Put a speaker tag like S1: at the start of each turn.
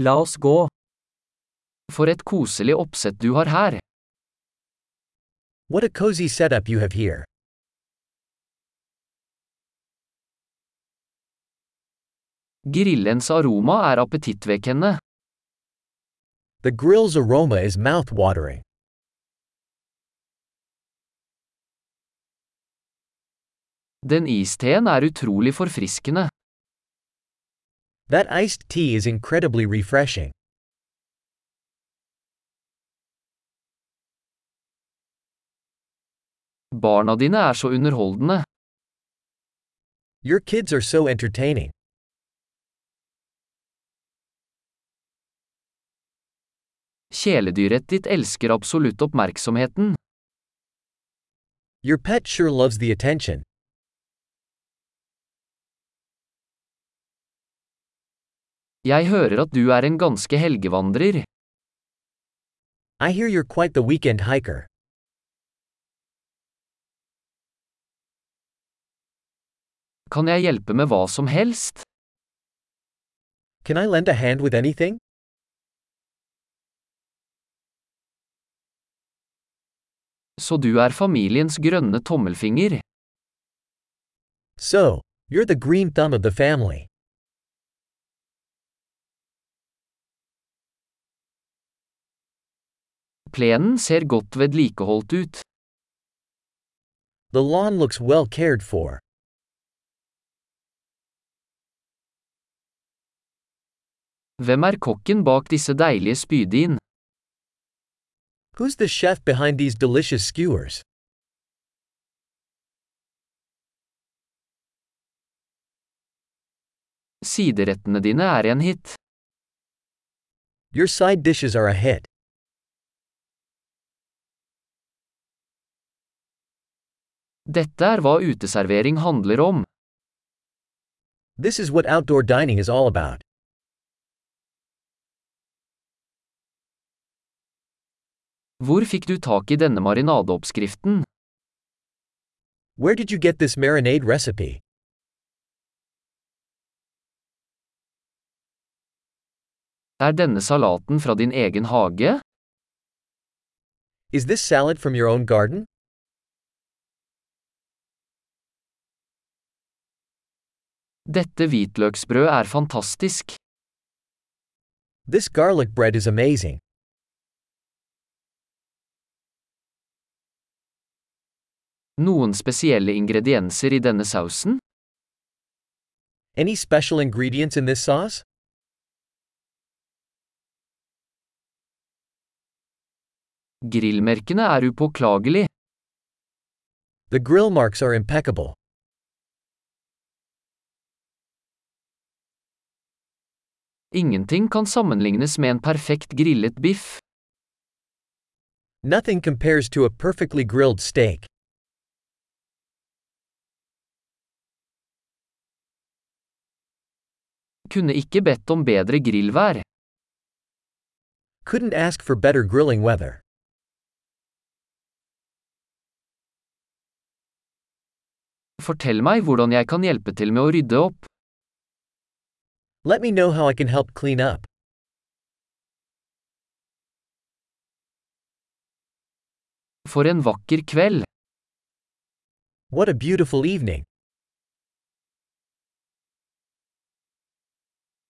S1: La oss gå. For et koselig oppsett du har her.
S2: What a cozy setup you have here.
S1: Grillens aroma er appetittvekkende.
S2: The grill's aroma is mouth-watering.
S1: Den isteen er utrolig forfriskende.
S2: That iced tea is incredibly refreshing.
S1: Barna dine er så underholdende.
S2: Your kids are so entertaining.
S1: Kjæledyret ditt elsker absolutt oppmerksomheten.
S2: Your pet sure loves the attention.
S1: Jeg hører at du er en ganske helgevandrer.
S2: I hear you're quite the weekend hiker.
S1: Kan jeg hjelpe med hva som helst?
S2: Can I lend a hand with anything?
S1: Så du er familiens grønne tommelfinger.
S2: So, you're the green thumb of the family.
S1: Plenen ser godt vedlikeholdt ut.
S2: The lawn looks well cared for.
S1: Hvem er kokken bak disse deilige spydin?
S2: Who's the chef behind these delicious skewers?
S1: Siderettene dine er en hit.
S2: Your side dishes are a hit.
S1: Dette er hva uteservering handler om.
S2: This is what outdoor dining is all about.
S1: Hvor fikk du tak i denne marinadeoppskriften?
S2: Where did you get this marinade recipe?
S1: Er denne salaten fra din egen hage?
S2: Is this salad from your own garden?
S1: Dette hvitløksbrød er fantastisk.
S2: This garlic bread is amazing.
S1: Noen spesielle ingredienser i denne sausen?
S2: Any special ingredients in this sauce?
S1: Grillmerkene er upåklagelig.
S2: The grill marks are impeccable.
S1: Ingenting kan sammenlignes med en perfekt grillet biff.
S2: Nothing compares to a perfectly grilled steak.
S1: Kunne ikke bedt om bedre grillvær.
S2: Couldn't ask for better grilling weather.
S1: Fortell meg hvordan jeg kan hjelpe til med å rydde opp.
S2: Let me know how I can help clean up.
S1: For en vakker kveld.
S2: What a beautiful evening!